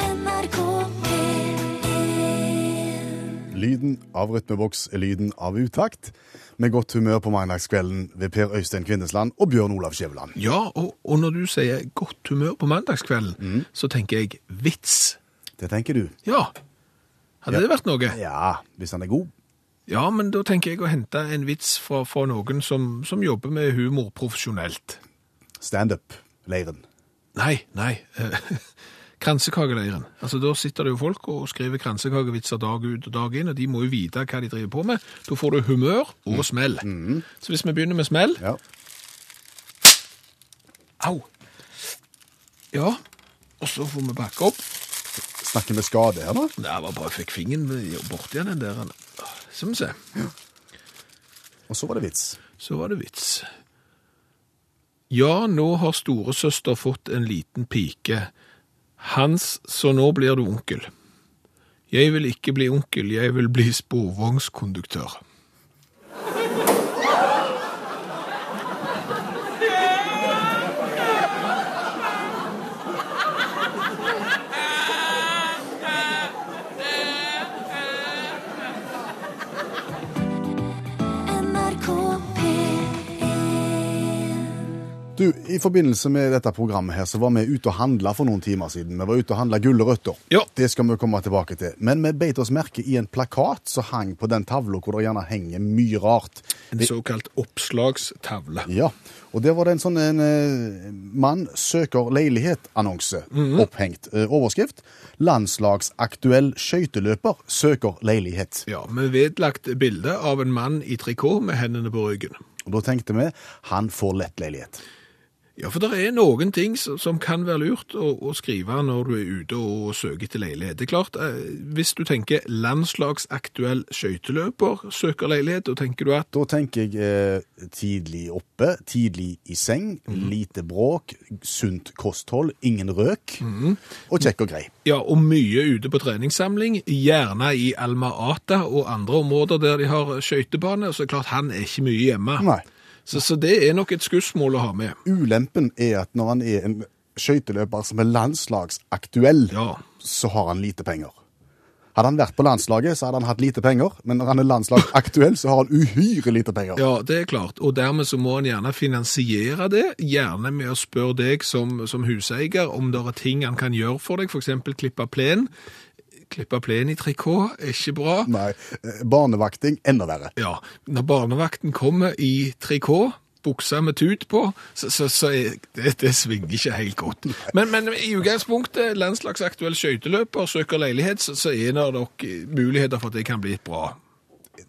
NRK P1 Lyden av rytmeboks er lyden av utakt. Med godt humør på mandagskvelden ved Per Øystein Kvindesland og Bjørn Olav Skjæveland. Ja, og, og når du sier godt humør på mandagskvelden, Mm. så tenker jeg vits. Det tenker du. Ja, hadde det vært noe? Ja, hvis han er god. Ja, men da tenker jeg å hente en vits fra, fra noen som, som jobber med humor profesjonelt. Standup-leiren. Nei, nei. eh, Kransekakaleiren. Altså, da sitter det jo folk og skriver kransekakevitser dag ut og dag inn, og de må jo vite hva de driver på med. Da får du humør og smell. Så hvis vi begynner med smell Mm. Ja. Au! Ja, og så får vi bakke opp. Snakker vi skade her nå? Det var bare jeg fikk fingeren borti den der. Så må vi se. Og så var det vits. Så var det vits. Ja, nå har storesøster fått en liten pike. Hans, så nå blir du onkel. Jeg vil ikke bli onkel, jeg vil bli sporvognskonduktør. NRK P1 Du, I forbindelse med dette programmet her, så var vi ute og handla for noen timer siden. Vi var ute og handla gulrøtter. Ja. Det skal vi komme tilbake til. Men vi beit oss merke i en plakat som hang på den tavla hvor det gjerne henger mye rart. En såkalt oppslagstavle. Ja, og der var det en sånn en, eh, mann søker leilighet-annonse opphengt. Eh, overskrift landslagsaktuell skøyteløper søker leilighet. Ja, med vedlagt bilde av en mann i trikot med hendene på ryggen. Og da tenkte vi han får lett leilighet. Ja, for det er noen ting som som kan være lurt å, å skrive når du er ute og søker til leilighet. Det er klart, eh, hvis du tenker landslagsaktuell skøyteløper søker leilighet, da tenker du at Da tenker jeg eh, tidlig oppe, tidlig i seng, lite bråk, sunt kosthold, ingen røk og kjekk og grei. ja, og mye ute på treningssamling, gjerne i Alma-Ata og andre områder der de har skøytebane, så er det klart han er ikke mye hjemme. Nei. Så, så det er nok et skussmål å ha med. Ulempen er at når han er en skøyteløper som er landslagsaktuell, Ja. så har han lite penger. Hadde han vært på landslaget, så hadde han hatt lite penger, men når han er landslagsaktuell, så har han uhyre lite penger. Ja, det er klart. Og dermed så må en gjerne finansiere det, gjerne med å spørre deg som, som huseier om det er ting han kan gjøre for deg, f.eks. klippe plen. Klippe plen i trikot er ikke bra. Nei, eh, barnevakting, enda verre. Ja, når barnevakten kommer i trikot, buksa med tut på, så, så, så er, det, det svinger ikke helt godt. Men, men i utgangspunktet, landslagsaktuell skøyteløper søker leilighet, så, så er det nok muligheter for at det kan bli bra.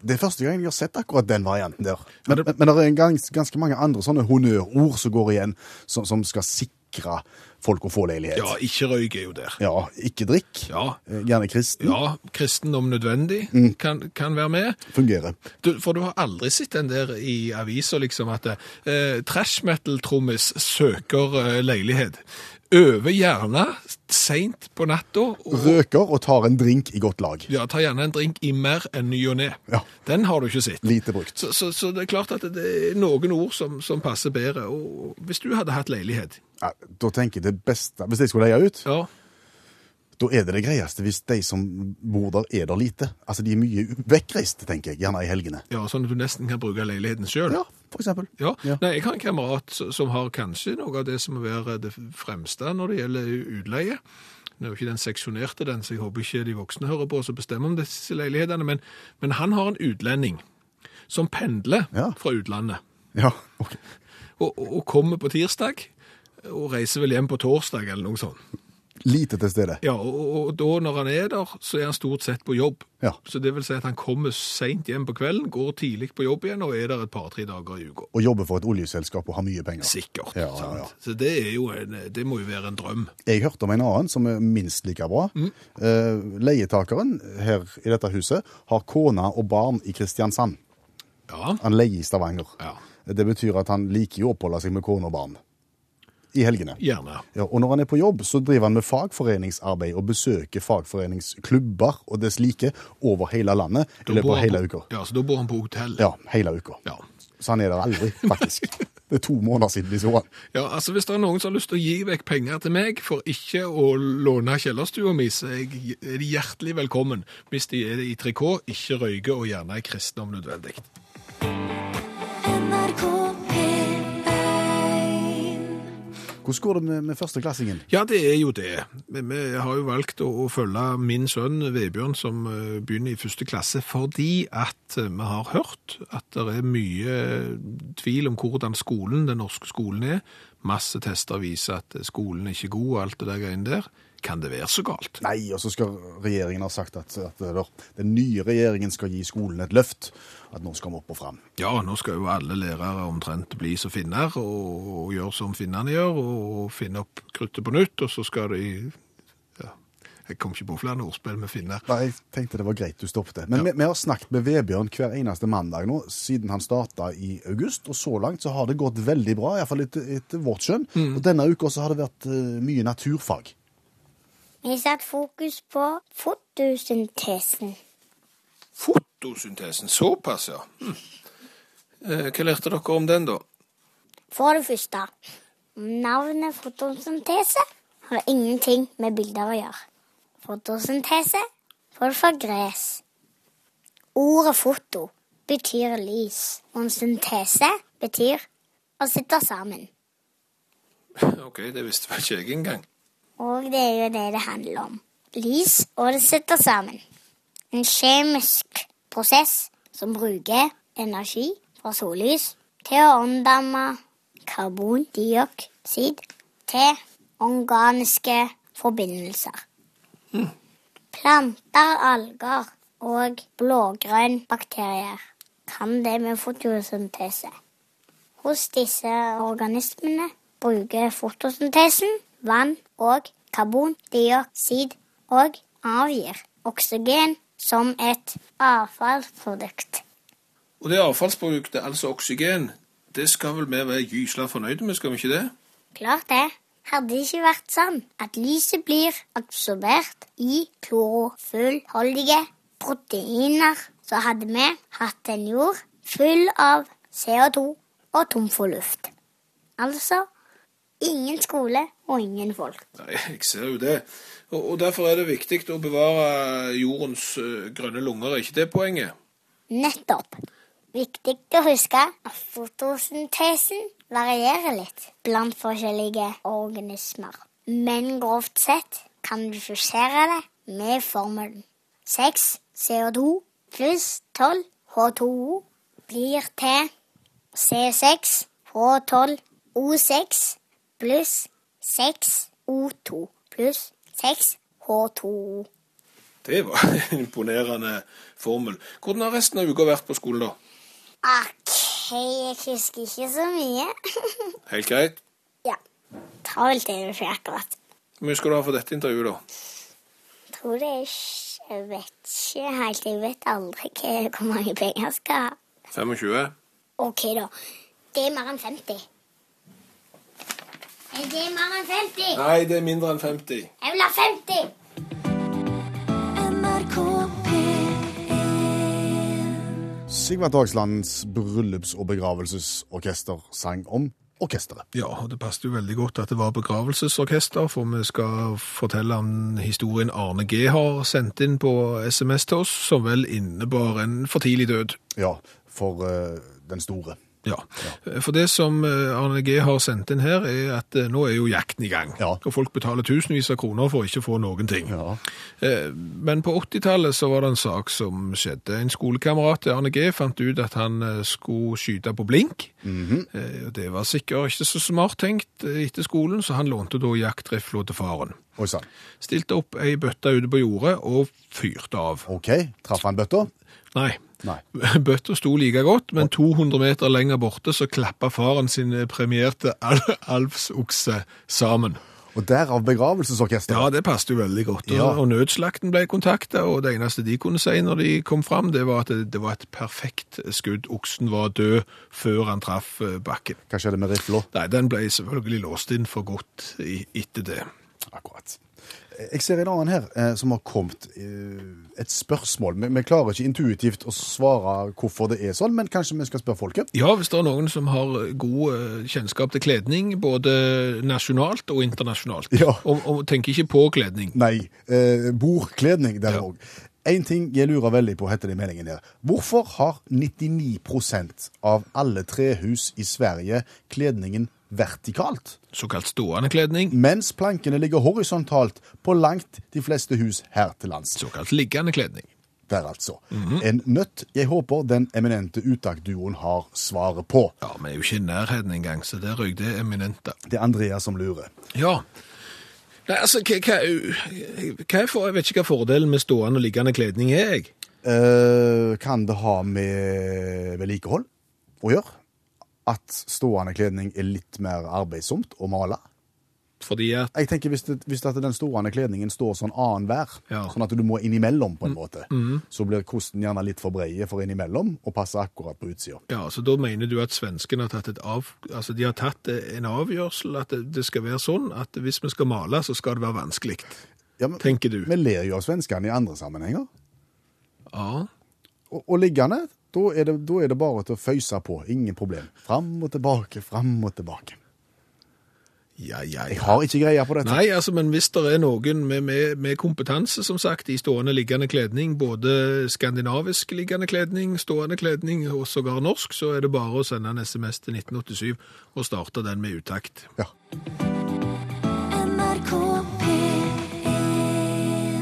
Det er første gang jeg har sett akkurat den varianten der. Men, Ja, det- men, men det er en gans, ganske mange andre sånne honnørord som går igjen, som, som skal sikre folk å få leilighet. Ja, ikke røyk er jo der. Ja, ikke drikk. Ja. Eh, Gjerne kristen. Ja, kristen om nødvendig Mm. kan, kan være med. Fungerer. Du, for du har aldri sett den der i aviser, liksom, at eh, trash metal-trommis søker eh, leilighet. Øver gjerne seint på natta, og Røker og tar en drink i godt lag. ja, tar gjerne en drink i mer enn ny og ne. Ja. Den har du ikke sett. Lite brukt. Så, så, så det er klart at det er noen ord som, som passer bedre. Og hvis du hadde hatt leilighet Ja, da tenker jeg det beste, hvis jeg skulle leie ut, ja, Da er det det greieste hvis de som bor der, er der lite. Altså, de er mye vekkreist, tenker jeg, gjerne i helgene. ja, sånn at du nesten kan bruke leiligheten sjøl. Ja, for eksempel. Ja. Ja. Nei, jeg har en kamerat s- som har kanskje noe av det som må være det fremste når det gjelder utleie. Nå er jo ikke den seksjonerte den, så jeg håper ikke de voksne hører på og bestemmer om disse leilighetene, men, men han har en utlending som pendler Ja. fra utlandet Ja, ok. og, og, og kommer på tirsdag og reiser vel hjem på torsdag eller noe sånt. Lite til stede. Ja, og, og, og da når han er der, så er han stort sett på jobb. Ja. Så det vil si at han kommer sent hjem på kvelden, går tidlig på jobb igjen og er der et par-tre dager i uka. Og jobber for et oljeselskap og har mye penger. Sikkert. Ja, sant? ja, ja. Så det, er jo en, det må jo være en drøm. Jeg hørte om en annen som er minst like bra. Mm. Eh, leietakeren her i dette huset har kona og barn i Kristiansand. Ja. Han leier i Stavanger. ja. Det betyr at han liker å oppholde seg med kone og barn. I helgene. Gjerne. Ja, og når han er på jobb, så driver han med fagforeningsarbeid og besøker fagforeningsklubber og dess like over hele landet i løpet bor av han hele på, uka. ja, så da bor han på hotell. Ja, hele uka. Ja. Så han er der aldri, faktisk. Det er to måneder siden vi så han. Ja, altså Hvis det er noen som har lyst til å gi vekk penger til meg for ikke å låne kjellerstua mi, så er jeg- er de hjertelig velkommen. Hvis de er i trikot, ikke røyke og gjerne er kristne om nødvendig. NRK P1 Hvordan går det med, med førsteklassingen? Ja, det er jo det. Vi vi har jo valgt å, å følge min sønn Vebjørn, som eh, begynner i første klasse, fordi at eh, vi har hørt at det er mye eh, tvil om hvordan skolen, den norske skolen er. Masse tester viser at eh, skolen er ikke god og alt det der greiene der. Kan det være så galt? Nei, og så skal regjeringen ha sagt at, at eller, den nye regjeringen skal gi skolen et løft. At nå skal vi opp og fram. Ja, nå skal jo alle lærere omtrent bli som finner, og, og gjøre som finnene gjør, og, og finne opp kruttet på nytt, og så skal de ja, Jeg kom ikke på flere ordspill med finner. Nei, jeg tenkte det var greit du stoppet. Men vi, vi har snakket med Vebjørn hver eneste mandag nå, siden han starta i august. Og så langt så har det gått veldig bra, iallfall etter, etter vårt skjønn. Og denne uka så har det vært eh, mye naturfag. Vi satt fokus på fotosyntesen. Fotosyntesen. Såpass, ja. Hm. Eh, Hva lærte dere om den, da? For det første, navnet fotosyntese har ingenting med bilder å gjøre. Fotosyntese får fra gress. Ordet foto betyr lys, og syntese betyr å sitte sammen. OK, det visste vel ikke jeg engang. Og det er jo det det handler om. Lys og det sitter sammen. En kjemisk prosess som bruker energi fra sollys til å omdanne karbondioksid til organiske forbindelser. Planter, alger og blågrønne bakterier kan det med fotosyntese. Hos disse organismene bruker fotosyntesen vann og karbondioksid og avgir oksygen som et avfallsprodukt. Og det avfallsproduktet, altså oksygen, det skal vel vi være gysla fornøyde med, skal vi ikke det? Klart det. Hadde det ikke vært sånn at lyset blir absorbert i klorofullholdige proteiner, så hadde vi hatt en jord full av CO2 og tom for luft. Altså ingen skole og ingen folk. Nei, jeg ser jo det. Og, og derfor er det viktig å bevare jordens eh, grønne lunger, er ikke det poenget? Nettopp. Viktig å huske at fotosyntesen varierer litt blant forskjellige organismer. Men grovt sett kan du fusere det med formelen 6 CO2 pluss 12 H2O blir til C6 H12 O6 pluss 6 O2 pluss 6 H2O. Det var en imponerende formel. Hvordan har resten av uka vært på skolen, da? OK, jeg husker ikke så mye. Helt greit? Ja. Travelt er det ikke akkurat. Hvor mye skal du ha for dette intervjuet, da? Tror det er ikke- Jeg vet ikke helt. Jeg vet aldri hva- hvor mange penger jeg skal ha. 25? OK, da. Det er mer enn 50. Er Det er mer enn 50! Nei, det er mindre enn 50. Jeg vil ha 50! NRK P1 Sigvart Dagslands bryllups- og begravelsesorkester sang om orkesteret. Ja, og det passet jo veldig godt at det var begravelsesorkester, for vi skal fortelle om historien Arne G har sendt inn på SMS til oss, som vel innebar en for tidlig død. Ja, for eh, den store. Ja. For det som eh, Arne G har sendt inn her, er at eh, nå er jo jakten i gang. Ja. Og folk betaler tusenvis av kroner for å ikke få noen ting. Eh, Men på 80-tallet så var det en sak som skjedde. En skolekamerat til Arne G fant ut at han eh, skulle skyte på blink. Eh, og Det var sikkert ikke så smart tenkt eh, etter skolen, så han lånte da jaktrifla til faren. Oi sann. Stilte opp ei bøtte ute på jordet og fyrte av. OK, traff han bøtta? Nei. Nei. Bøtta sto like godt, men 200 meter lenger borte så klappa faren sin premierte al- alvsokse sammen. Og derav begravelsesorkesteret. Ja, det passet jo veldig godt. Og, Ja. og nødslakten ble kontakta, og det eneste de kunne si når de kom fram, det var at det, det var et perfekt skudd. Oksen var død før han traff eh, bakken. Hva skjedde med rifla? Nei, den ble selvfølgelig låst inn for godt i, etter det. Akkurat. Jeg ser en annen her eh, som har kommet eh, et spørsmål. Vi, vi klarer ikke intuitivt å svare hvorfor det er sånn, men kanskje vi skal spørre folket? Ja, hvis det er noen som har god eh, kjennskap til kledning, både nasjonalt og internasjonalt, Ja. og, og tenker ikke på kledning. Nei, eh, bordkledning der Ja. òg. En ting jeg lurer veldig på, heter det i meldingen her. Hvorfor har 99 av alle trehus i Sverige kledningen vertikalt, Såkalt stående kledning, mens plankene ligger horisontalt på langt de fleste hus her til lands? såkalt liggende kledning. der, altså. En nøtt jeg håper den eminente uttaktduoen har svaret på. Ja, vi er jo ikke i nærheten engang, så der røyk det eminente. Det er Andreas som lurer. Ja. Nei, altså, hva, hva, hva er for, jeg vet ikke hva fordelen med stående og liggende kledning er, jeg. Eh, kan det ha med vedlikehold å gjøre? At stående kledning er litt mer arbeidsomt å male? Fordi at Jeg tenker Hvis, det, hvis at den stående kledningen står sånn annenhver, Ja. sånn at du må innimellom, på en måte, så blir kosten gjerne litt for breie for innimellom og passer akkurat på utsida. Ja, så da mener du at svenskene har tatt, et av, altså de har tatt en avgjørsel, at det, det skal være sånn at hvis vi skal male, så skal det være vanskelig, Ja, men- tenker du. Vi ler jo av svenskene i andre sammenhenger. Ja, Og, og liggende, da er, det, da er det bare til å føyse på. Ingen problem. Fram og tilbake, fram og tilbake. ja, ja. Jeg ja. har ikke greie på dette. Nei, altså, men hvis det er noen med, med, med kompetanse, som sagt, i stående liggende kledning, både skandinavisk liggende kledning, stående kledning og sågar norsk, så er det bare å sende en sms til 1987 og starte den med utakt. Ja. NRK P1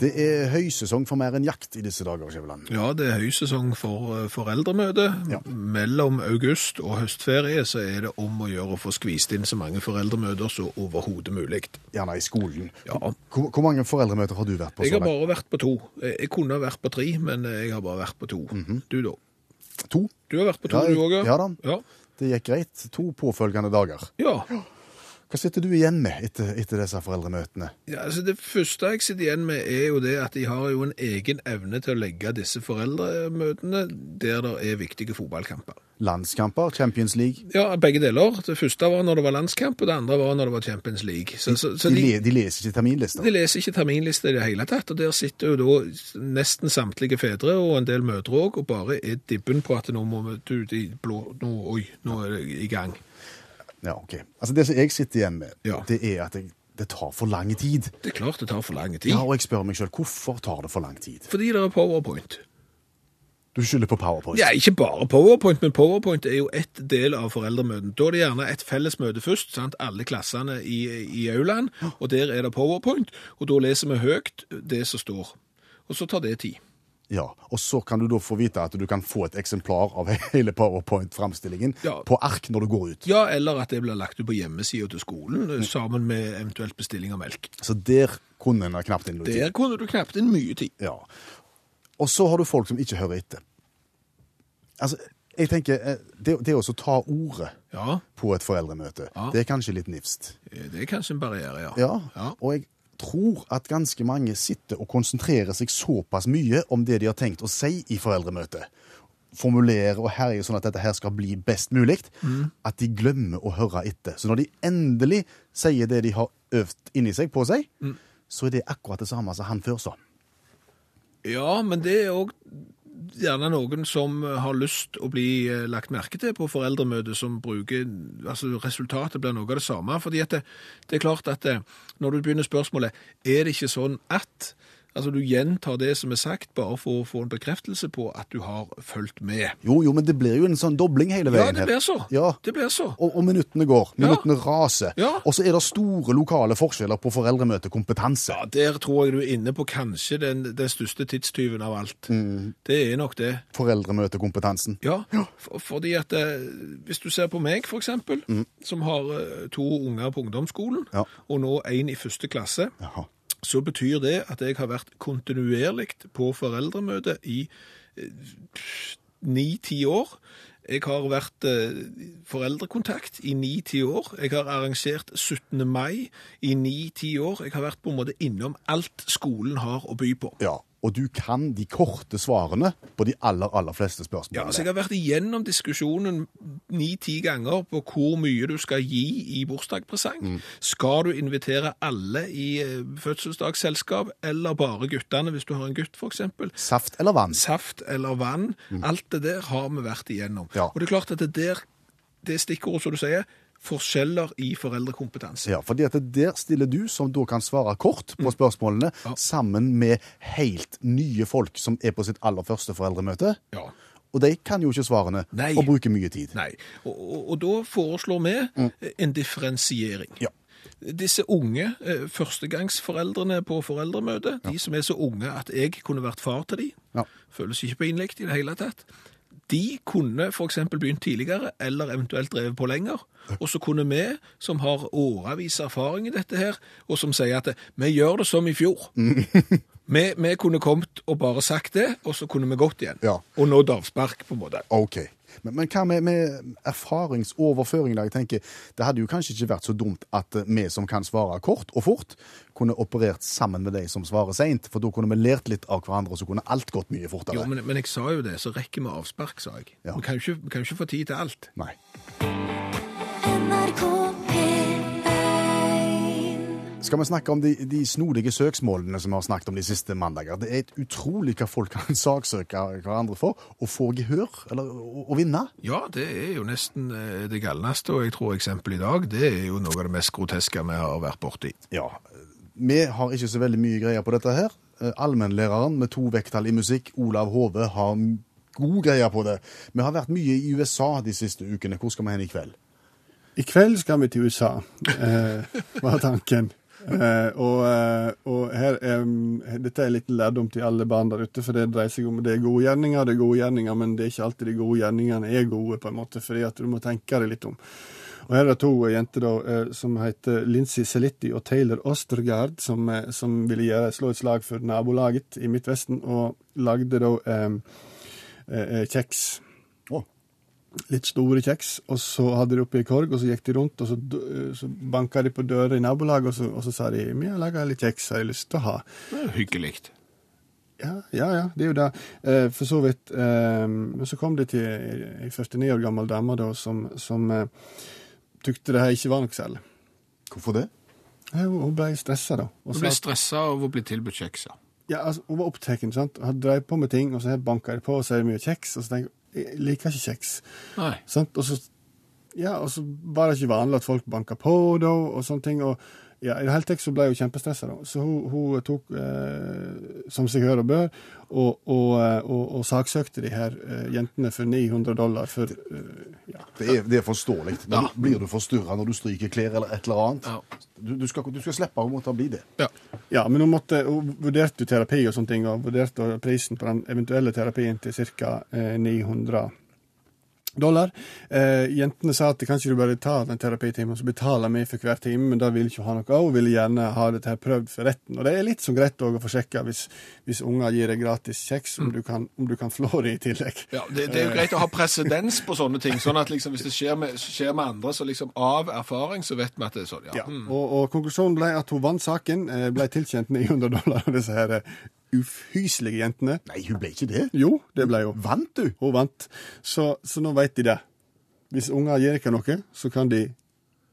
Det er høysesong for mer enn jakt i disse dager, Skjæveland. Ja, det er høysesong for eh, foreldremøte. Ja. Mellom august og høstferie så er det om å gjøre å få skvist inn så mange foreldremøter som overhodet mulig. Gjerne i skolen. Ja. Hvor, hvor mange foreldremøter har du vært på? Jeg så har langt? bare vært på to. Jeg jeg kunne ha vært på tre, men jeg har bare vært på to. Du da? To. Du har vært på Mhm. to, Ja, jeg- du òg? ja da. Ja. Det gikk greit. To påfølgende dager. ja. Hva sitter du igjen med etter, etter disse foreldremøtene? Ja, altså Det første jeg sitter igjen med, er jo det at de har jo en egen evne til å legge disse foreldremøtene der det er viktige fotballkamper. Landskamper? Champions League? Ja, begge deler. Det første var når det var landskamp, og det andre var når det var Champions League. Så, så, så De, le, de leser ikke terminlister? De leser ikke terminliste i det hele tatt, og der sitter jo da nesten samtlige fedre og en del mødre òg, og bare er dibben på at nå må vi ut i blå nå, Oi, nå er det i gang. Ja, ok. Altså Det som jeg sitter igjen med, Ja. det er at jeg, det tar for lang tid. Det er klart det tar for lang tid. Ja, Og jeg spør meg sjøl hvorfor tar det for lang tid. Fordi det er powerpoint. Du skylder på Powerpoint. Ja, ikke bare powerpoint, men powerpoint er jo ett del av foreldremøtene. Da er det gjerne et felles møte først, sant? alle klassene i, i aulaen, og der er det powerpoint, og da leser vi høyt det som står. Og så tar det tid. Ja, og så kan du da få vite at du kan få et eksemplar av hele PowerPoint-framstillingen Ja. på ark når du går ut. Ja, eller at det blir lagt ut på hjemmesida til skolen, eh, sammen med eventuelt bestilling av melk. Så der kunne en ha knapt inn noe tid. Der kunne du knapt inn mye tid. Ja. Og så har du folk som ikke hører etter. Altså, jeg tenker, eh, det, det å så ta ordet Ja, på et foreldremøte, Ja. det er kanskje litt nifst. eh, det er kanskje en barriere, ja. Ja, og jeg tror at ganske mange sitter og konsentrerer seg såpass mye om det de har tenkt å si i foreldremøtet. Formulere og herje sånn at dette her skal bli best mulig. Mm. At de glemmer å høre etter. Så når de endelig sier det de har øvd inni seg på seg, Mm. så er det akkurat det samme som han før sa. Ja, men det er òg gjerne noen som eh, har lyst å bli eh, lagt merke til på foreldremøte, som bruker Altså, resultatet blir noe av det samme. fordi at det, det er klart at eh, når du begynner spørsmålet er det ikke sånn at Altså, du gjentar det som er sagt, bare for å få en bekreftelse på at du har fulgt med. Jo, jo, men det blir jo en sånn dobling hele Ja, veien. det her. blir så. Ja. Det blir så. Og, og minuttene går. Ja. Minuttene raser. Ja. Og så er det store lokale forskjeller på foreldremøtekompetanse. Ja, der tror jeg du er inne på kanskje den, den største tidstyven av alt. Mm. Det er nok det. Foreldremøtekompetansen. Ja, for, fordi at eh, hvis du ser på meg for eksempel, som har eh, to unger på ungdomsskolen, Ja. og nå en i første klasse, Jaha. så betyr det at jeg har vært kontinuerlig på foreldremøte i eh, ni-ti år. Jeg har vært eh, foreldrekontakt i ni-ti år. Jeg har arrangert 17. mai i ni-ti år. Jeg har vært på en måte innom alt skolen har å by på. Ja, og og du kan de korte svarene på de aller, aller fleste spørsmålene. Ja, altså Jeg har vært igjennom diskusjonen ni-ti ganger på hvor mye du skal gi i bursdagspresang. Mm. Skal du invitere alle i eh, fødselsdagsselskap, eller bare guttene hvis du har en gutt, f.eks.? Saft eller vann? Saft eller vann. Alt det der har vi vært igjennom. Mm. Ja. Og det er klart at det der, det stikkordet som du sier, forskjeller i foreldrekompetanse. Ja, fordi at der stiller du, som da kan svare kort Mm. på spørsmålene, sammen med helt nye folk som er på sitt aller første foreldremøte. Ja. Og de kan jo ikke svarene, Nei. og bruker mye tid. Nei. Og, og, og da foreslår vi Mm. en differensiering. Ja. Disse unge eh, førstegangsforeldrene på foreldremøte, de som er så unge at jeg kunne vært far til de, Ja. føles ikke pinlig i det hele tatt. De kunne f.eks. begynt tidligere, eller eventuelt drevet på lenger. Og så kunne vi, som har årevis erfaring i dette her, og som sier at vi gjør det som i fjor. Mm. vi, vi kunne kommet og bare sagt det, og så kunne vi gått igjen. Ja. Og nådd avspark, på en måte. Ok. Men, men hva med, med erfaringsoverføring? da? Jeg tenker, Det hadde jo kanskje ikke vært så dumt at eh, vi som kan svare kort og fort, kunne operert sammen med de som svarer seint. For da kunne vi lært litt av hverandre, og så kunne alt gått mye fortere. Jo, men, men jeg sa jo det, så rekker vi avspark, sa jeg. Ja. Vi kan jo ikke, vi kan jo ikke få tid til alt. Nei. NRK P1 Skal vi snakke om de, de snodige søksmålene som vi har snakket om de siste mandager? Det er et utrolig hva folk kan saksøke hverandre for, og få gehør, eller å, å vinne. Ja, det er jo nesten eh, det galneste, og jeg tror eksempelet i dag, det er jo noe av det mest groteske vi har vært borti. Ja. Vi har ikke så veldig mye greier på dette her. Eh, Allmennlæreren med to vekttall i musikk, Olav Hove, har m- god greie på det. Vi har vært mye i USA de siste ukene. Hvor skal vi hen i kveld? I kveld skal vi til USA, eh, var tanken. Eh, og, eh, og her er, mm, dette er litt lærdom til alle barn der ute, for det dreier seg om det er gode gjerninger, det er gode gjerninger, men det er ikke alltid de gode gjerningene er gode, på en måte, fordi at du må tenke deg litt om. Og her er det to jenter da, eh, som heter Lincy Selitti og Taylor Ostergaard, som, eh, som ville gjøre, slå et slag for nabolaget i Midtvesten, og lagde da eh, eh, eh, kjeks Å, litt store kjeks, og så hadde de oppi ei korg, og så gikk de rundt, og så, d- eh, så banka de på dører i nabolaget, og så, og så sa de vi har laga litt kjeks, har jeg lyst til å ha? Det er jo hyggelig. Ja, ja, ja, det er jo det. Eh, for så vidt. Eh, men så kom de til ei 49 år gammel dame da, som, som eh, tykte det her ikke var noe særlig. hvorfor det? Eh, Hun hun ble stressa, da. og Du sa blir at- stressa av å bli tilbudt kjekser. Ja, altså, hun var opptatt, sant. Hun dreiv på med ting, og så her banka de på, og så er det mye kjeks, og så tenker jeg jeg liker ikke kjeks. Nei. Sant? Og så, ja, og så var det ikke vanlig at folk banka på da, og sånne ting. og ja, I det hele tatt så ble jeg jo kjempestressa, da. Så hun, hun tok, eh, som seg hør og bør, og, og, eh, og, og saksøkte de her eh, jentene for 900 dollar for eh, ja. Det er, det er forståelig. Da Blir du forstyrra når du stryker klær eller et eller annet? Ja. Du, du, skal, du skal slippe å måtte bli det. Ja. ja, men hun, måtte, hun vurderte jo terapi og sånne ting, og vurderte prisen på den eventuelle terapien til ca. Eh, 900 dollar. Eh, jentene sa at kan ikke du bare ta den terapitimen, så betaler vi for hver time, men det ville ikke hun ha noe av. Hun ville gjerne ha dette her prøvd for retten. Og det er litt så greit også å få sjekka hvis, hvis unger gir deg gratis kjeks, om du kan, om du kan flå det i tillegg. Ja, det, det er jo greit å ha presedens på sånne ting, sånn at liksom, hvis det skjer med, skjer med andre, så liksom av erfaring, så vet vi at det er sånn. Ja. Ja. Mm. Og, og konklusjonen ble at hun vant saken, eh, ble tilkjent 900 dollar av disse her eh, ufyselige jentene. Nei, hun ble ikke det. Jo, det ble hun. Vant du? Hun vant. Så, så nå vet de det. Hvis unger gir dere noe, så kan de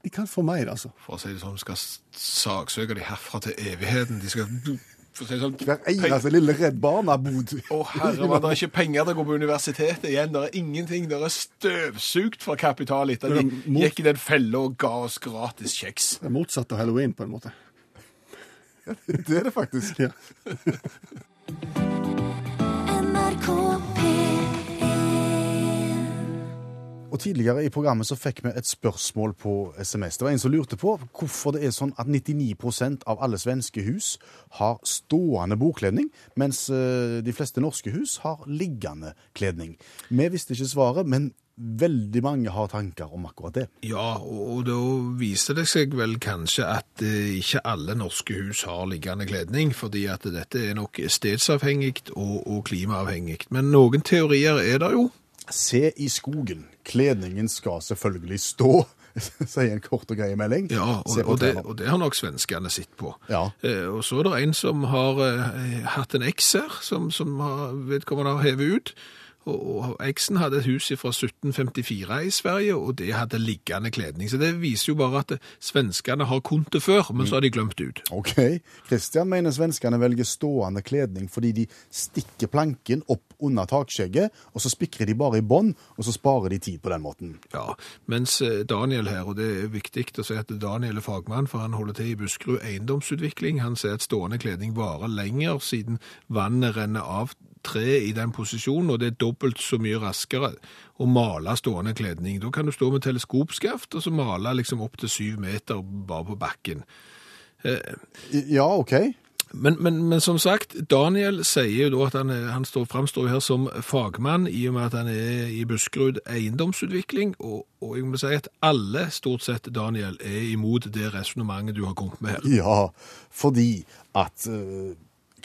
De kan få mer, altså. For å si det sånn, skal s- saksøke de herfra til evigheten. De skal for å si det sånn, Hver pen- eneste lille Redd Barna-bod. Å herre, men det er ikke penger til å gå på universitetet igjen. Det er ingenting. Det er støvsugt fra kapital etter at de mot- gikk i den fella og ga oss gratis kjeks. Det er motsatt av halloween, på en måte. Det er det faktisk. Ja. NRK P1 Og Tidligere i programmet så fikk vi et spørsmål på SMS. Det var en som lurte på hvorfor det er sånn at 99 av alle svenske hus har stående bordkledning, mens eh, de fleste norske hus har liggende kledning. Vi visste ikke svaret, men veldig mange har tanker om akkurat det. Ja, og og da viser det seg vel kanskje at eh, ikke alle norske hus har liggende kledning, fordi at dette er nok stedsavhengig og, og klimaavhengig. Men noen teorier er det jo. Se i skogen. Kledningen skal selvfølgelig stå. sier en kort og grei melding. Ja, og, Se på og, det, treneren. og det har nok svenskene sett på. Ja. Eh, og så er det en som har eh, hatt en eks her, som, som har, vedkommende har hevet ut. Og, og eksen hadde et hus fra 1754 i Sverige, og det hadde liggende kledning. Så det viser jo bare at eh, svenskene har kunnet det før, men så har de glemt det ut. Ok. Kristian mener svenskene velger stående kledning fordi de stikker planken opp under takskjegget, og så spikrer de bare i bånd, og så sparer de tid på den måten. Ja, Mens eh, Daniel her, og det er viktig å si at Daniel er fagmann, for han holder til i Buskerud eiendomsutvikling. Han sier at stående kledning varer lenger siden vannet renner av treet i den posisjonen, og det er dobbelt så mye raskere å male stående kledning. Da kan du stå med teleskopskaft og så male liksom opp til syv meter bare på bakken. I- Ja, OK. Men, men, men som sagt, Daniel sier jo da at han, er- han står, fremstår jo her som fagmann, i og med at han er i Buskerud eiendomsutvikling, og, og jeg må si at alle, stort sett, Daniel, er imot det resonemanget du har kommet med her. Ja, fordi at eh,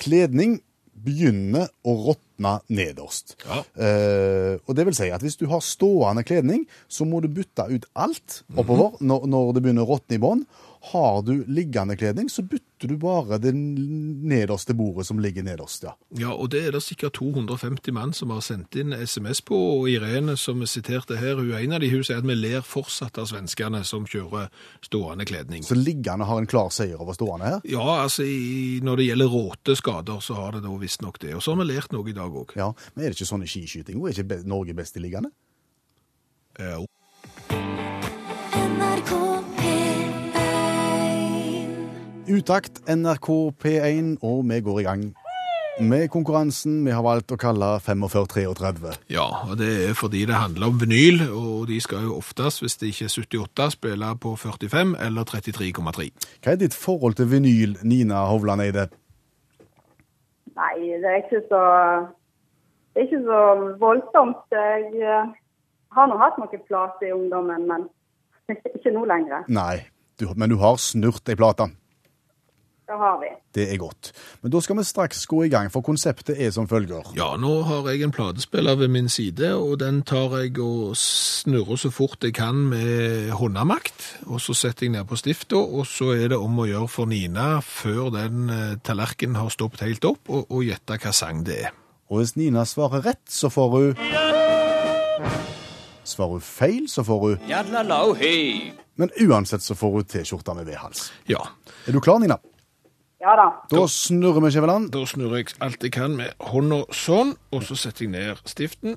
kledning begynner å råtne nederst. Ja. Eh, og det vil si at hvis du har stående kledning, så må du bytte ut alt oppover når, når det begynner å råtne i bånd. Har du liggende kledning, så bytter du bare det nederste bordet som ligger nederst, ja. Ja, og det er det sikkert 250 mann som har sendt inn sms på, og Irene, som er sitert her, hun er en av de, hun sier at vi ler fortsatt av svenskene som kjører stående kledning. Så liggende har en klar seier over stående her. Ja, altså, i, når det gjelder råteskader, så har det da visst nok det, og så har vi lært noe i dag også. Ja, Men er det ikke sånn i skiskyting? Er ikke be- Norge best i liggende? Ja. NRK P1 Utakt, NRK P1, og vi går i gang med konkurransen vi har valgt å kalle 45-33. Ja, og det er fordi det handler om vinyl, og de skal jo oftest, hvis det ikke er 78, spille på 45 eller 33,3. Hva er ditt forhold til vinyl, Nina Hovland Eide? Nei, det er ikke så Det er ikke så voldsomt. Jeg eh, har nå hatt noen plater i ungdommen, men ikke nå lenger. Nei, du, men du har snurt ei plate. Det har vi. Det er godt. Men da skal vi straks gå i gang, for konseptet er som følger. Ja, nå har jeg en platespiller ved min side, og den tar jeg og snurrer så fort jeg kan med håndamakt, og så setter jeg ned på stiftet, og så er det om å gjøre for Nina før den eh, tallerkenen har stoppet helt opp, og, og gjette hva sang det er. Og hvis Nina svarer rett, så får hun Svarer hun feil, så får hun Yadlalau hei. Men uansett så får hun T-skjorta med V-hals. Ja, Er du klar, Nina? Ja da. Da snurrer vi Skjæveland. da snurrer jeg alt jeg kan med hånda sånn, og så setter jeg ned stiften.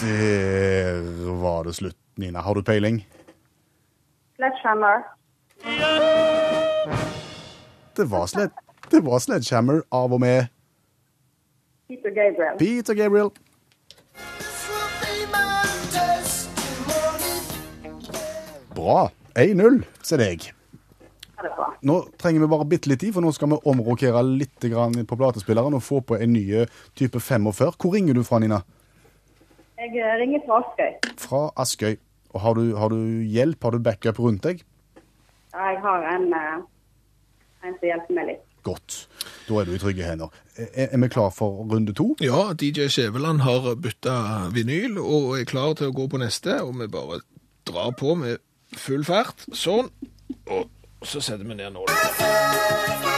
Der var det slutt, Nina. Har du peiling? Sledgehammer. Det var, sled, det var Sledgehammer av og med Peter Gabriel. Peter Gabriel. Bra. 1-0 til deg. Er det bra? Nå trenger vi bare bitte litt tid, for nå skal vi omrokere litt grann på platespilleren og få på en ny type 45. Hvor ringer du fra, Nina? Jeg eh, ringer fra Askøy. Fra Askøy. Og har du, har du hjelp? Har du backup rundt deg? Jeg har en, eh, en som hjelper meg litt. Godt. Da er du i trygge hender. Er, er vi klar for runde to? Ja, DJ Skjæveland har bytta vinyl og er klar til å gå på neste. Og vi bare drar på med full fart. Sånn. Og så setter vi ned nålen.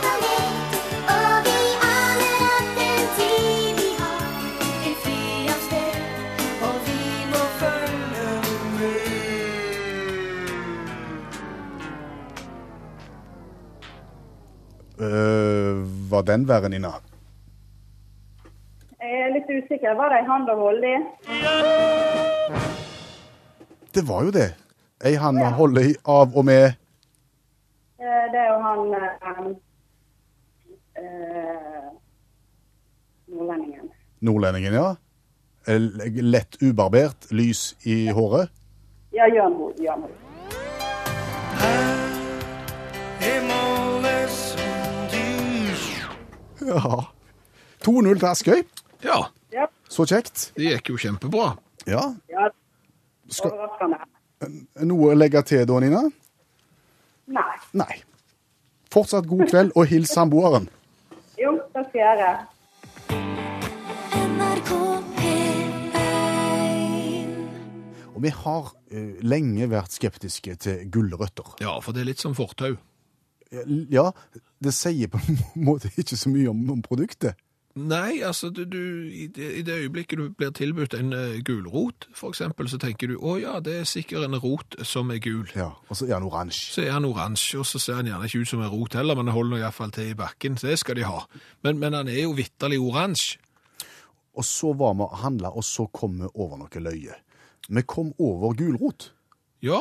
Øh, var den verre, Nina? Jeg er litt usikker. Var det ei hand å holde i? Det var jo det. Ei hand man holder i av og med Eh, Det er jo han eh, eh, Nordlendingen. Nordlendingen, ja. L- Lett ubarbert, lys i håret. Ja, Jørn Hoel. Jørn Hoel. Ja. 2-0 til Askøy. Ja. Ja. Så kjekt. Det gikk jo kjempebra. Ja. Ja, Skal- overraskende. Noe å legge til da, Nina? Nei. Nei. Fortsatt god kveld, og hils samboeren. Jo, det skal jeg gjøre. NRK P1 Og vi har eh, lenge vært skeptiske til gulrøtter. Ja, for det er litt som fortau. Ja, det sier på en måte ikke så mye om, om produktet. Nei, altså du, du, i, det, i det øyeblikket du blir tilbudt en eh, gulrot, for eksempel, så tenker du å ja, det er sikkert en rot som er gul. Ja, Og så er den oransje. Så er han oransje, og så ser han gjerne ikke ut som en rot heller, men han holder nå iallfall til i bakken. så Det skal de ha. Men, men han er jo vitterlig oransje. Og så var vi og handla, og så kom vi over noe løye. Vi kom over gulrot, Ja,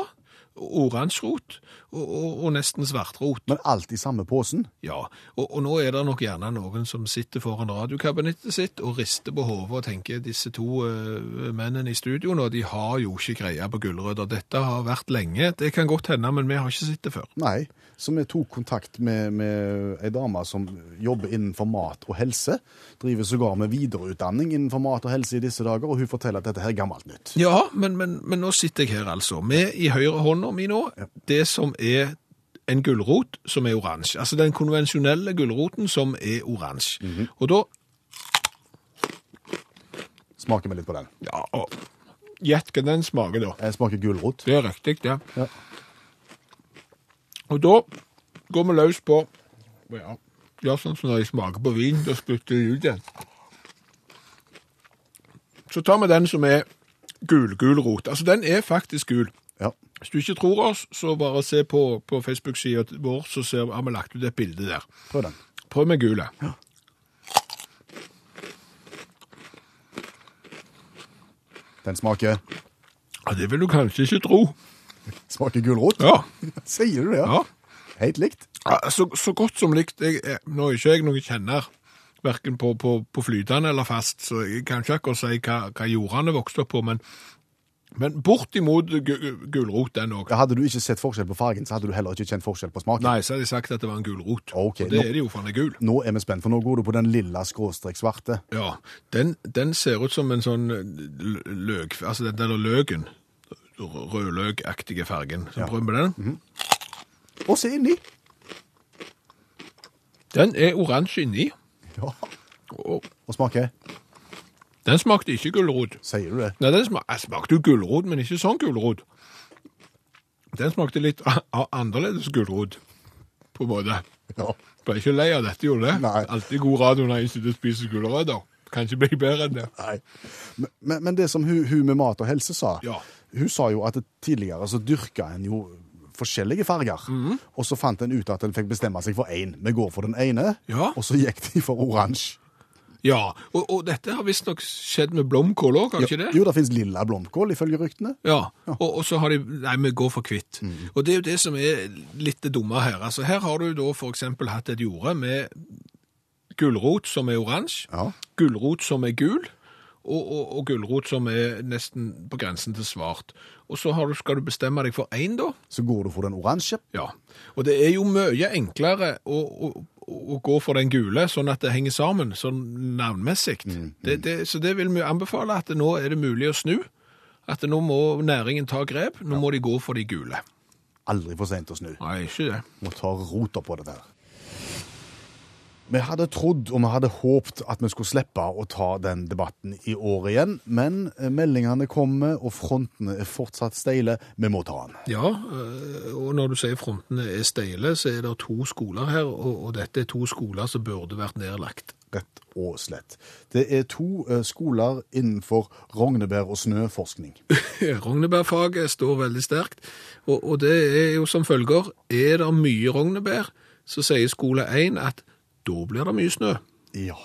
oransjerot og, og, og nesten svartrot. men alt i samme posen. Ja, og, og nå er det nok gjerne noen som sitter foran radiokabinettet sitt og rister på hodet og tenker disse to eh, mennene i studio nå, de har jo ikke greia på gulrøtter. Dette har vært lenge. Det kan godt hende, men vi har ikke sett det før. Nei, så vi tok kontakt med, med ei dame som jobber innenfor mat og helse. Driver sågar med videreutdanning innenfor mat og helse i disse dager, og hun forteller at dette her er gammelt nytt. Ja, men, men, men nå sitter jeg her altså, med i høyre hånda mi nå, det som er en gulrot som er oransje. Altså den konvensjonelle gulroten som er oransje. Og da, Smaker vi litt på den. ja, og gjett hva den smaker da. Jeg smaker gulrot. Det er riktig, det. Ja. Og da går vi løs på ja, ja, sånn som når jeg smaker på vin, da spytter jeg ut igjen. Så tar vi den som er gulgulrot. Altså, den er faktisk gul. Ja. Hvis du ikke tror oss, så bare se på, på Facebook-sida vår, så ser, har vi lagt ut et bilde der. Prøv den. Prøv med gule. Den smaker, Ja, det vil du kanskje ikke tro. smaker gulrot. Ja. Sier du det? ja. Helt likt. Ja, Så, så godt som likt. Jeg, er- nå er ikke jeg noen kjenner, hverken på, på, på flytende eller fast, så jeg kan ikke akkurat si hva, hva jordene vokste opp på, men, men bortimot gu- gu- gulrot den òg. Ja, Hadde du ikke sett forskjell på fargen, så hadde du heller ikke kjent forskjell på smaken. Nei, så hadde jeg sagt at det var en gulrot. Ok, og det nå- er det jo, for den er gul. Nå er vi spent, for nå går du på den lilla skråstrek svarte. Ja, den, den ser ut som en sånn l- løk, altså den der løken, r- rødløkaktige fargen. Så prøv med den. Mhm. Og se inni! Den er oransje inni, Ja. og Og smaker. den smakte ikke gulrot. Sier du det? Nei, den smak, jeg smakte jo gulrot, men ikke sånn gulrot. Den smakte litt a- a- annerledes gulrot, på en måte. Ja. Ble ikke lei av dette, gjorde det? Nei. Alltid god radio når jeg sitter og spiser gulrøtter. Kan ikke bli bedre enn det. Nei. Men, men, men det som hun, hun med mat og helse sa, Ja. hun sa jo at tidligere så dyrka en jo forskjellige farger, Mhm. og så fant en ut at en fikk bestemme seg for én. Vi går for den ene, Ja. og så gikk de for oransje. Ja, og, og dette har visstnok skjedd med blomkål òg, har det ikke det? Jo, det fins lilla blomkål, ifølge ryktene. Ja, og, og så har de Nei, vi går for hvitt. Mm. Og det er jo det som er litt det dumme her. Altså, her har du da for eksempel hatt et jorde med gulrot som er oransje, Ja. gulrot som er gul, og, og, og gulrot som er nesten på grensen til svart. Og så har du, skal du bestemme deg for én, da. Så går du for den oransje. Ja. Og det er jo mye enklere å, å, å gå for den gule, sånn at det henger sammen, sånn navnmessig. Det, det, så det vil vi anbefale, at nå er det mulig å snu. At nå må næringen ta grep, nå må de gå for de gule. Aldri for seint å snu. Nei, ikke det. må ta rota på dette her. Vi hadde trodd og vi hadde håpt at vi skulle slippe å ta den debatten i år igjen, men eh, meldingene kommer, og frontene er fortsatt steile. Vi må ta den. Ja, øh, og når du sier frontene er steile, så er det to skoler her, og, og dette er to skoler som burde vært nedlagt. Rett og slett. Det er to eh, skoler innenfor rognebær- og snøforskning. Rognebærfaget står veldig sterkt, og, og det er jo som følger, er det mye rognebær, så sier skole 1 at da blir det mye snø. Ja.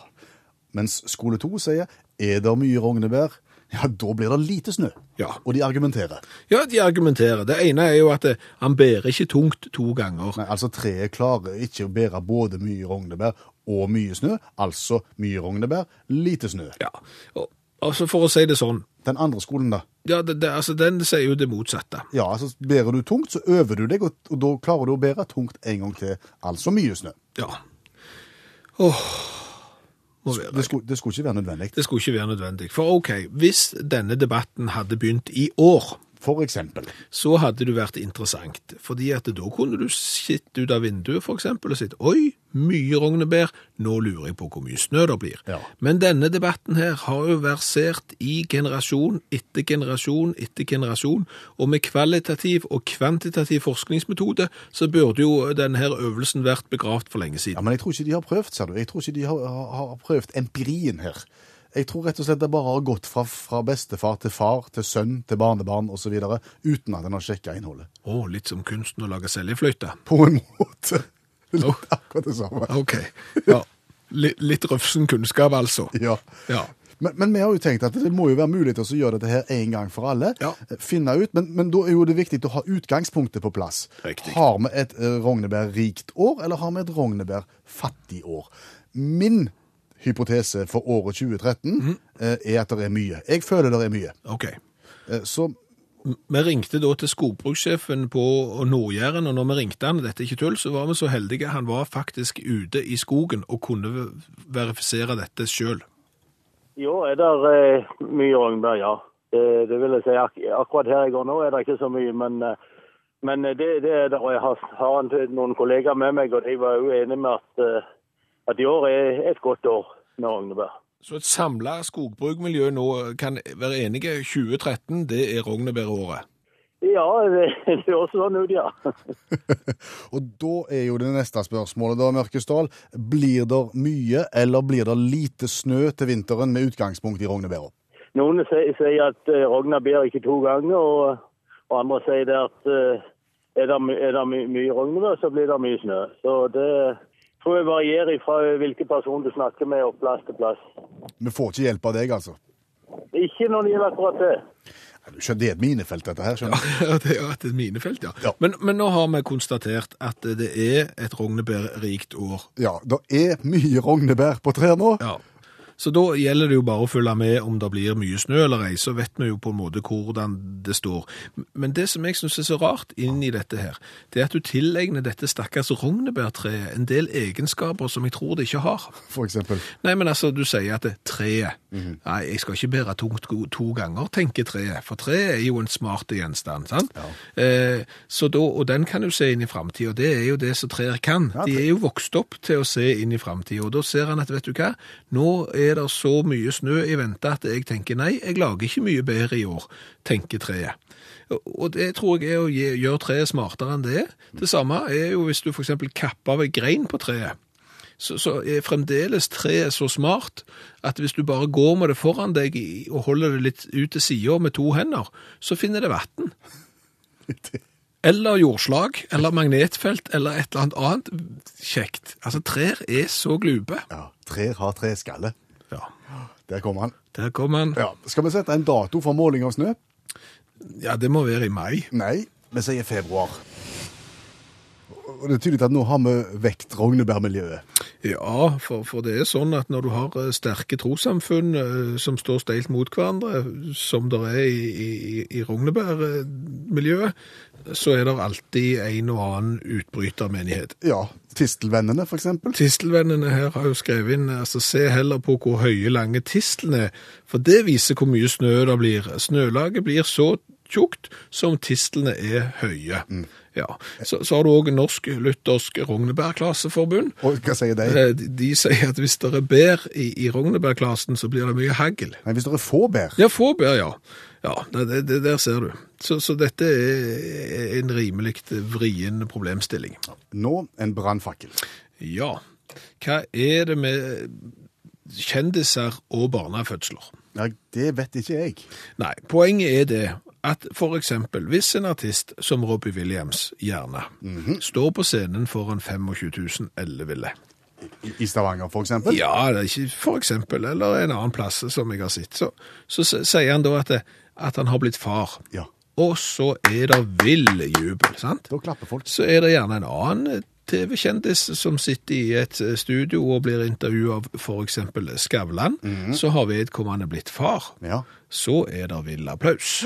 Mens skole to sier er det mye rognebær, ja, da blir det lite snø. Ja. Og de argumenterer. Ja, de argumenterer. Det ene er jo at eh, han bærer ikke tungt to ganger. Nei, altså treet klarer ikke å bære både mye rognebær og mye snø, altså mye rognebær, lite snø. Ja, og, altså for å si det sånn, Den andre skolen da, ja, det, det, altså den sier jo det motsatte. ja, altså bærer du tungt, så øver du deg, og, og da klarer du å bære tungt en gang til, altså mye snø. Ja. Åh, må være Det skulle, det skulle ikke være nødvendig. Det skulle ikke være nødvendig. For OK, hvis denne debatten hadde begynt i år, For eksempel. så hadde det vært interessant. Fordi at da kunne du sitte ut av vinduet for eksempel, og sett oi, mye rognebær, nå lurer jeg på hvor mye snø det blir. Ja. Men denne debatten her har jo versert i generasjon etter generasjon etter generasjon, og med kvalitativ og kvantitativ forskningsmetode så burde jo denne her øvelsen vært begravd for lenge Ja, siden. Men jeg tror ikke de har prøvd, sa du. Jeg tror ikke de har, har, har prøvd empirien her. Jeg tror rett og slett det bare har gått fra, fra bestefar til far til sønn til barnebarn osv. uten at en har sjekka innholdet. Å, litt som kunsten å lage seljefløyte. På en måte. Det Oh. er akkurat det samme. Ok, ja. Litt, litt røfsen kunnskap altså. Ja. Ja. Men, men vi har jo tenkt at det må jo være mulig til å gjøre dette her en gang for alle. eh, Ja. Finne ut, men, men da er jo det viktig å ha utgangspunktet på plass. Riktig. Har vi et eh, rognebærrikt år, eller har vi et rognebærfattig år? Min hypotese for året 2013 Mhm. eh, er at det er mye. Jeg føler det er mye. Ok. Eh, Så Vi ringte da til skogbrukssjefen på Nord-Jæren, og når vi ringte han, dette er ikke tull, så var vi så heldige. Han var faktisk ute i skogen og kunne verifisere dette sjøl. Jo, er det eh, mye rognbær, ja. Eh, det vil jeg si. Ak akkurat her jeg går nå er det ikke så mye, men, eh, men det, det er det. Og jeg har, har en- noen kollegaer med meg, og de var jo enige med at, eh, at i år er et godt år med rognebær. Så et samla skogbrukmiljø nå kan være enige. 2013, det er rognebæråret. Ja, det, det høres sånn ut, ja. Og da er jo det neste spørsmålet da, Mørkesdal. Blir det mye eller blir det lite snø til vinteren med utgangspunkt i rognebæra? Noen sier, sier at eh, Rogna ber ikke to ganger, og, og andre sier det at eh, er det, my- er det my mye rognevær, så blir det mye snø. Så det tror jeg varierer fra hvilken person du snakker med, og plass til plass. Vi får ikke hjelp av deg, altså. Ikke når det gjelder akkurat det. Nei, du skjønner, Det er et minefelt, dette her. skjønner du? Ja, det er et minefelt, ja. Ja. Men, men nå har vi konstatert at det er et rognebærrikt år. Ja, det er mye rognebær på trær nå. Ja. Så da gjelder det jo bare å følge med om det blir mye snø eller ei, så vet vi jo på en måte hvordan det står. Men det som jeg syns er så rart inn i dette her, det er at du tilegner dette stakkars rognebærtreet en del egenskaper som jeg tror det ikke har. For eksempel. Nei, men altså, du sier at det, treet Mhm. Nei, jeg skal ikke bære tungt to, to ganger, tenker treet. For treet er jo en smart gjenstand, sant? Eh, så da, og den kan du se inn i framtida. Det er jo det som trær kan. Ja, De tre- er jo vokst opp til å se inn i framtida. Og da ser han at, vet du hva, nå er det så mye snø i vente at jeg tenker nei, jeg lager ikke mye bedre i år, tenker treet. Og- Og det tror jeg er å gi- gjøre treet smartere enn det er. Det samme er jo hvis du f.eks. kapper av en grein på treet så, så er fremdeles treet så smart at hvis du bare går med det foran deg i- og holder det litt ut til sida med to hender, så finner det vann. Eller jordslag, eller magnetfelt, eller et eller annet annet kjekt. Altså, trær er så glube. Ja, Trær har treskalle. Ja, Der kommer han. der kom han. Ja, Skal vi sette en dato for måling av snø? Ja, det må være i mai. Nei, vi sier februar. Og Det er tydelig at nå har vi vekt rognebærmiljøet. Ja, for, for det er sånn at når du har eh, sterke trossamfunn eh, som står steilt mot hverandre, som det er i, i, i Rognebær-miljøet, så er det alltid en og annen utbrytermenighet. Ja, Tistelvennene, for eksempel. Tistelvennene her har jo skrevet inn altså se heller på hvor høye lange tistelen er, for det viser hvor mye snø det blir. Snølaget blir så tjukt som tistlene er høye. Ja. Så, så har du òg Norsk Luthersk Rognebærklaseforbund. Og hva sier de? Eh, De, de sier at hvis det er bær i, i rognebærklasen, så blir det mye hagl. Nei, Hvis det er få bær Ja, få bær, ja. Ja, det, det, det der ser du. Så, så dette er en rimelig vrien problemstilling. Nå en brannfakkel. Ja. Hva er det med kjendiser og barnefødsler? Ja, det vet ikke jeg. Nei, poenget er det at for eksempel hvis en artist som Robbie Williams gjerne står på scenen foran 25 000 elleville. I- I Stavanger, for eksempel. Ja, det er ikke for eksempel, eller en annen plass som jeg har sett. Så, så s- sier han da at, det, at han har blitt far. Ja. Og så er det vill jubel, sant? Da klapper folk. Så er det gjerne en annen TV-kjendis som sitter i et eh, studio og blir intervjuet av for eksempel Skavlan. Så har vedkommende blitt far. Mhm. Ja. Så er det vill applaus.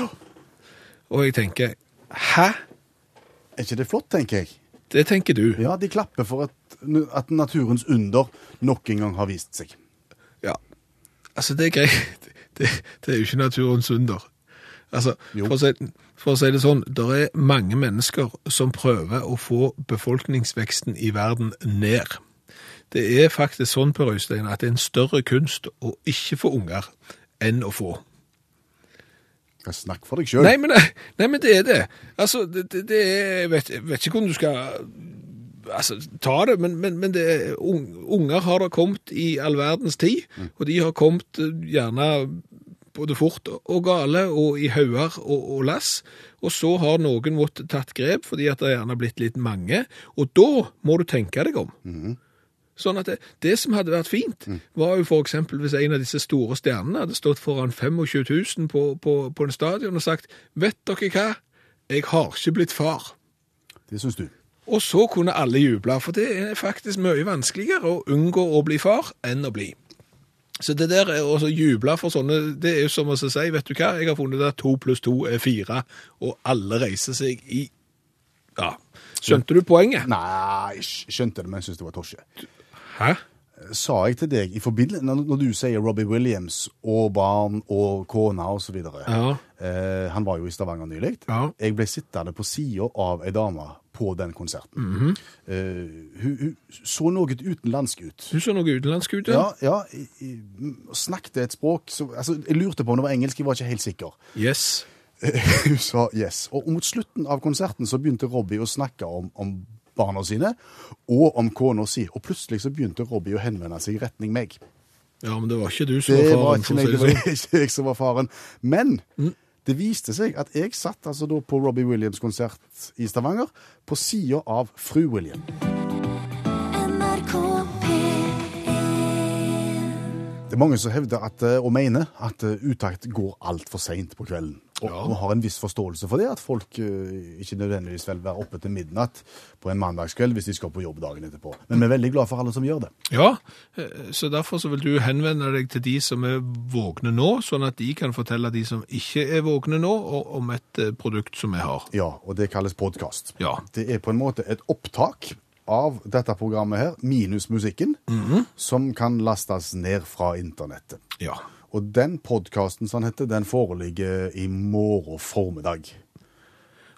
Og jeg tenker, hæ? Er ikke det flott, tenker jeg? Det tenker du. Ja, de klapper for at, at naturens under nok en gang har vist seg. Altså, det er greit. Det, det er jo ikke naturens under. Altså, Jo. for å, si, for å si det sånn, det er mange mennesker som prøver å få befolkningsveksten i verden ned. Det er faktisk sånn, Per Øystein, at det er en større kunst å ikke få unger enn å få. Ja, Snakk for deg sjøl. Nei, men, nei, men det er det. Altså, det, det, det er Jeg vet, jeg vet ikke hvordan du skal altså, ta det, men, men, men det, er- un, unger har da kommet i all verdens tid, og de har kommet eh, gjerne både fort og gale, og i hauger og, og lass. Og så har noen måttet tatt grep, fordi at det gjerne har blitt litt mange. Og da må du tenke deg om. Sånn at det, det som hadde vært fint, Mm. var jo for eksempel hvis en av disse store stjernene hadde stått foran 25 000 på, på, på en stadion og sagt, vet dere hva, jeg har ikke blitt far. Det syns du. Og så kunne alle juble, for det er faktisk mye vanskeligere å unngå å bli far enn å bli. Så det der er å juble for sånne, det er jo som å si, vet du hva, jeg har funnet at to pluss to er fire, og alle reiser seg i, ja, skjønte du poenget? Nei, jeg skjønte det, men jeg syns det var tosje. Hæ? Sa jeg til deg i forbindelse når når du sier Robbie Williams og barn og kone og så videre Ja. eh, Han var jo i Stavanger nylig. Ja. Jeg ble sittende på sida av ei dame på den konserten. Mhm. eh, hun, hun så noe utenlandsk ut. Du så noe utenlandsk ut, Ja, ja i, i, Snakket et språk som altså, Jeg lurte på om det var engelsk, jeg var ikke helt sikker. Yes. Hun sa yes. Og mot slutten av konserten så begynte Robbie å snakke om, om barna sine og om kona si. Og plutselig så begynte Robbie å henvende seg i retning meg. Ja, men det var ikke du som Det var var faren, ikke for å meg, si det var ikke det sånn. Mm. jeg som var faren. Men det viste seg at jeg satt altså da på Robbie Williams-konsert i Stavanger på sida av fru William. NRK P1 Det er mange som hevder at, eh, og mener at eh, utakt går altfor seint på kvelden. Og Ja. man har en viss forståelse for det, at folk eh, ikke nødvendigvis vil være oppe til midnatt på en mandagskveld hvis de skal på jobb dagen etterpå. Men vi er veldig glad for alle som gjør det. Ja, eh, så derfor så vil du henvende deg til de som er vågne nå, sånn at de kan fortelle de som ikke er vågne nå, o- om et eh, produkt som vi har. Ja, og det kalles podkast. Ja. Det er på en måte et opptak av dette programmet her, minus musikken, som kan lastes ned fra internettet. Ja. Og den podkasten, som han heter, den foreligger i morgen formiddag.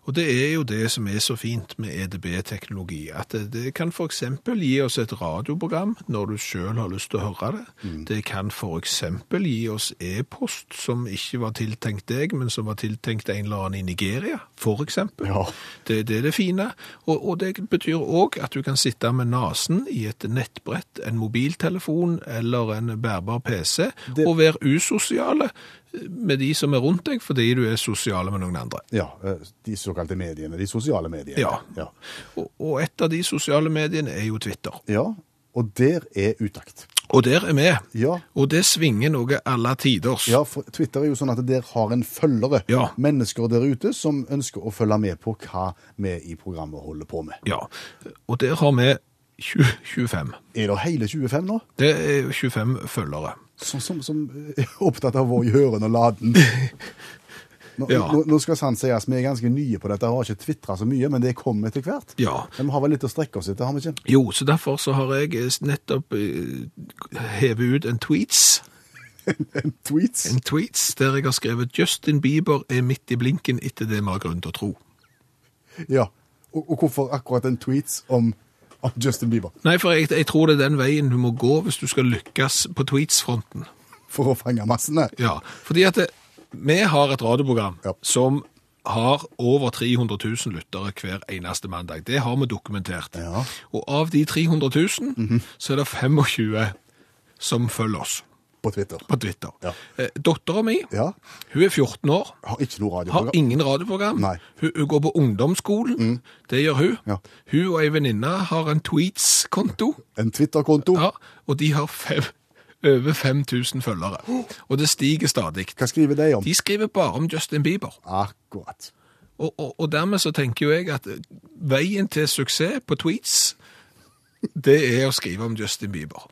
Og det er jo det som er så fint med EDB-teknologi, at det, det kan for eksempel gi oss et radioprogram når du selv har lyst til å høre det. Mm. Det kan for eksempel gi oss e-post som ikke var tiltenkt deg, men som var tiltenkt en eller annen i Nigeria, for eksempel. Ja. Det, det er det fine. Og, og det betyr òg at du kan sitte med nesen i et nettbrett, en mobiltelefon eller en bærbar PC, Det- og være usosiale med de som er rundt deg, fordi du er sosiale med noen andre. Ja, eh, de såkalte mediene, de sosiale mediene. Ja. Ja, Og, og et av de sosiale mediene er jo Twitter. ja og der er utakt. Og der er vi. Ja. Og det svinger noe alle tiders. Ja, for Twitter er jo sånn at der har en følgere. Ja. Mennesker der ute som ønsker å følge med på hva vi i programmet holder på med. Ja. Og der har vi 20, 25. Er det hele 25 nå? Det er jo 25 følgere. som, som, som er opptatt av å gjøre og laden. Nå, Ja. nå, nå skal sant sies, vi er ganske nye på dette, har ikke tvitra så mye, men det kommer etter hvert. Ja. Men vi har vel litt å strekke oss etter, har vi ikke? Jo, så derfor så har jeg eh, nettopp eh, hevet ut en tweets, Tweets. en tweets der jeg har skrevet Justin Bieber er midt i blinken etter det vi har grunn til å tro. Ja. Og, og hvorfor akkurat en tweets om, om Justin Bieber? Nei, for jeg, jeg tror det er den veien du må gå hvis du skal lykkes på tweets-fronten. For å fange massene? Ja, fordi at det, vi har et radioprogram Ja. som har over 300 000 lyttere hver eneste mandag. Det har vi dokumentert. Ja. Mhm. Og av de 300 000, så er det 25 som følger oss På Twitter. på Twitter. Ja. Eh, Dattera mi, Ja. hun er 14 år. Har ikke noe Har radioprogram. ingen radioprogram. Nei. Mhm. Hun, hun går på ungdomsskolen. Det gjør hun. Ja. Hun og ei venninne har en tweets-konto. En Twitter-konto. Ja, og de har fem, over 5000 følgere. Oh. Og det stiger stadig. Hva skriver de om? De skriver bare om Justin Bieber. Akkurat. Og, og, og dermed så tenker jo jeg at eh, veien til suksess på tweets, det er å skrive om Justin Bieber.